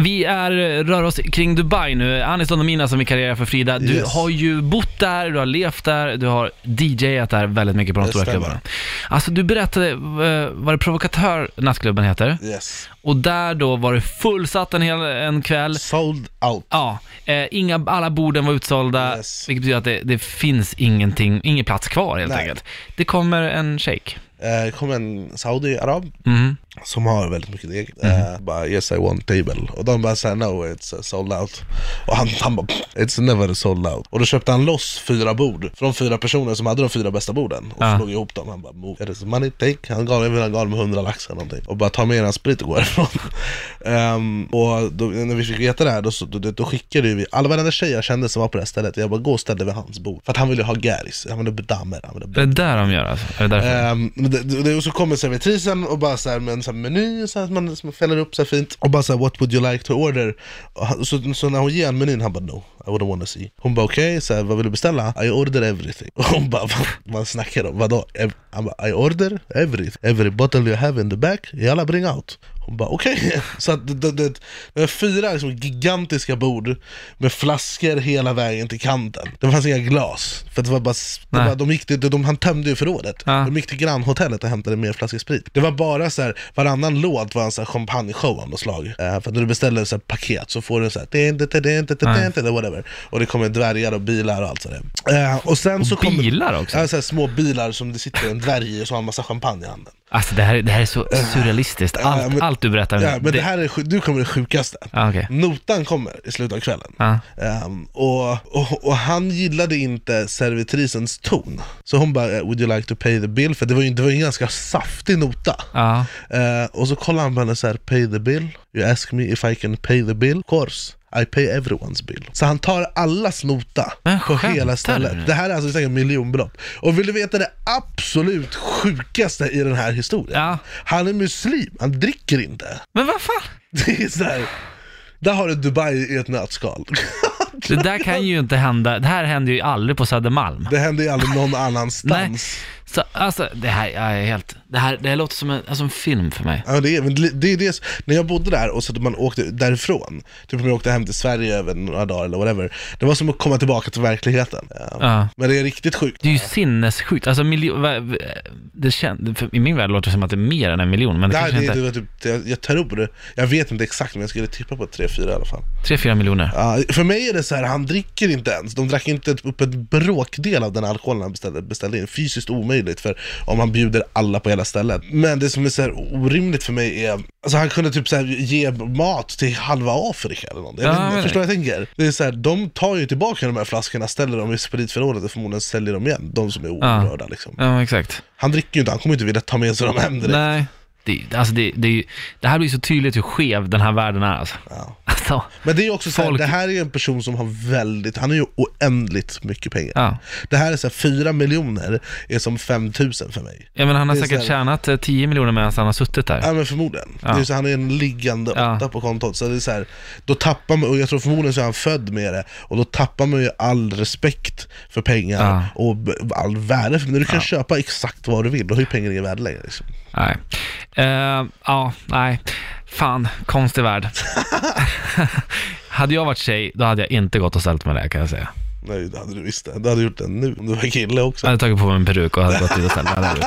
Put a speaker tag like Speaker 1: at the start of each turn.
Speaker 1: Vi är, rör oss kring Dubai nu. Anis Don Domina som vikarierar för Frida. Du
Speaker 2: Yes.
Speaker 1: har ju bott där, du har levt där, du har DJat där väldigt mycket på de
Speaker 2: Det
Speaker 1: stora
Speaker 2: stämmer.
Speaker 1: klubbarna. Alltså du berättade, eh, vad det Provokatör nattklubben heter?
Speaker 2: Yes.
Speaker 1: Och där då var det fullsatt en hel en kväll.
Speaker 2: Sold out.
Speaker 1: Ja, eh, inga, alla borden var utsålda,
Speaker 2: Yes.
Speaker 1: vilket betyder att det, det finns ingenting, ingen plats kvar helt
Speaker 2: Nej.
Speaker 1: enkelt. Det kommer en shake.
Speaker 2: Eh, kom en Saudi-arab
Speaker 1: Mm.
Speaker 2: som har väldigt mycket deg. Eh, bara yes I want table. Och de bara såhär no it's uh, sold out. Och han, han bara it's never sold out. Och då köpte han loss fyra bord från fyra personer som hade de fyra bästa borden. Och
Speaker 1: Ja.
Speaker 2: slog ihop dem. Han bara move. It is money take. Han gav, jag vill han gav dem 100 lax eller någonting. Och bara ta med eran sprit och gå härifrån. Ehm, och då, när vi fick veta det här då, så- då, då, då skickade ju vi, alla varenda tjej jag kände som var på det här stället. Jag bara gå och ställ dig vid hans bord. För att han ville ju ha garis. Han ville bedammer. Han ville
Speaker 1: Det är där de gör alltså. Är det därför?
Speaker 2: Ehm, men det, det, och så kommer servitrisen och bara så här med en sån här meny så här, som man, som man fäller upp så här fint och bara så här, what would you like to order? Och han, så, så när hon ger han menyn, han bara no, I wouldn't wanna see. Hon bara okej, okay, vad vill du beställa? I order everything. Och hon bara, vad man snackar om, vadå? Ev- Han bara, I order everything. Every bottle you have in the back, jalla bring out. Hon bara okej. Så att det, det, det, det var fyra liksom gigantiska bord med flaskor hela vägen till kanten. Det fanns inga glas. För att det var bara, s- det
Speaker 1: Nej.
Speaker 2: var, de, gick, till- de, de, han tömde ju förrådet.
Speaker 1: Ja.
Speaker 2: De gick till grannhotellet och hämtade mer flaskor sprit. Det var bara så här, varannan låt var en så här champagneshow av något slag. Eh, för att när du beställer så här paket så får du så här, din, din, din, din, din, din, din, whatever. Och det kommer dvärgar och bilar och allt sådär. Eh, och sen så kommer
Speaker 1: bilar också?
Speaker 2: Ja, så här, små bilar som det sitter en dvärg i och så har han massa champagne i handen.
Speaker 1: Alltså det här, det här är så surrealistiskt. Allt,
Speaker 2: Äh. ja, men-
Speaker 1: allt du berättar nu.
Speaker 2: Ja, men det här är, sjuk- nu kommer det sjukaste.
Speaker 1: Ja, okej.
Speaker 2: Notan kommer i slutet av kvällen.
Speaker 1: Ja.
Speaker 2: Ehm, och, och, och han gillade inte servitrisens ton. Så hon bara, "Eh, would you like to pay the bill? För det var ju, det var ju en ganska saftig nota.
Speaker 1: Ja.
Speaker 2: Eh, och så kollar han på henne såhär, pay the bill? You ask me if I can pay the bill? Of course. I pay everyone's bill. Så han tar allas nota
Speaker 1: Men
Speaker 2: på
Speaker 1: skämtar
Speaker 2: hela
Speaker 1: du?
Speaker 2: stället. Det här är alltså säkert miljonbelopp. Och vill du veta det absolut sjukaste i den här historien?
Speaker 1: Ja.
Speaker 2: Han är muslim, han dricker inte.
Speaker 1: Men vad fan?
Speaker 2: Det är så här, där har du Dubai i ett nötskal.
Speaker 1: Det där kan ju inte hända. Det här händer ju aldrig på Södermalm.
Speaker 2: Det händer ju aldrig någon
Speaker 1: Nej.
Speaker 2: annanstans.
Speaker 1: Så, alltså, det här, jag är helt... Det här, det här låter som en, alltså en film för mig.
Speaker 2: Ja, det är, men det är det, när jag bodde där och så att man åkte därifrån, typ om jag åkte hem till Sverige över några dagar eller whatever, det var som att komma tillbaka till verkligheten. Ja.
Speaker 1: Ja.
Speaker 2: Men det är riktigt sjukt.
Speaker 1: Det är ju sinnessjukt. Alltså, miljo, va- va- det kän, för, I min värld låter det som att det är mer än en miljon, men det
Speaker 2: Nej,
Speaker 1: kanske
Speaker 2: det,
Speaker 1: inte
Speaker 2: det
Speaker 1: är.
Speaker 2: var typ, jag, jag tror, jag vet inte exakt men jag skulle tippa på 3-4 i alla fall.
Speaker 1: Tre, fyra miljoner.
Speaker 2: Ja, för mig är det så här, han dricker inte ens. De drack inte ett- upp ett bråkdel av den alkoholen han beställde, beställde in. Fysiskt omöjligt för om han bjuder alla på hela stället. Men det som är så här orimligt för mig är, alltså han kunde typ så här ge mat till halva Afrika eller någonting. Jag
Speaker 1: Ja,
Speaker 2: vet inte,
Speaker 1: men-
Speaker 2: förstår vad jag tänker? Det är så här, de tar ju tillbaka de här flaskorna, ställer dem i spritförrådet och förmodligen säljer dem igen. De som är orörda liksom.
Speaker 1: Ja, exakt.
Speaker 2: Han dricker ju inte, han kommer inte vilja ta med sig dem hem direkt.
Speaker 1: Nej. Det, alltså det, det, är ju- det här blir så tydligt hur skev den här världen är alltså.
Speaker 2: Ja.
Speaker 1: alltså
Speaker 2: Men det är också så här,
Speaker 1: Folk-
Speaker 2: det här är en person som har väldigt, han har ju oändligt mycket pengar.
Speaker 1: ja.
Speaker 2: Det här är så här, 4 miljoner är som 5 000 för mig.
Speaker 1: ja, men han har
Speaker 2: Det är
Speaker 1: säkert
Speaker 2: så här-
Speaker 1: tjänat eh, 10 miljoner medan han har suttit där.
Speaker 2: Ja men förmodligen.
Speaker 1: Ja.
Speaker 2: Det är så, han är en liggande
Speaker 1: Ja.
Speaker 2: åtta på kontot. Så det är så här, då tappar man, och jag tror förmodligen så är han född med det, och då tappar man ju all respekt för pengar
Speaker 1: Ja.
Speaker 2: och b- all värde. För, men du kan köpa exakt vad du vill, då har ju pengar inget värde längre. Liksom.
Speaker 1: Nej. Eh, ja, nej. Fan, konstig värld. hade jag varit tjej, då hade jag inte gått och ställt mig där kan jag säga.
Speaker 2: Nej det hade du visst det. Du hade gjort det nu om du var kille också.
Speaker 1: Jag hade tagit på mig en peruk och hade gått ut och ställt mig där.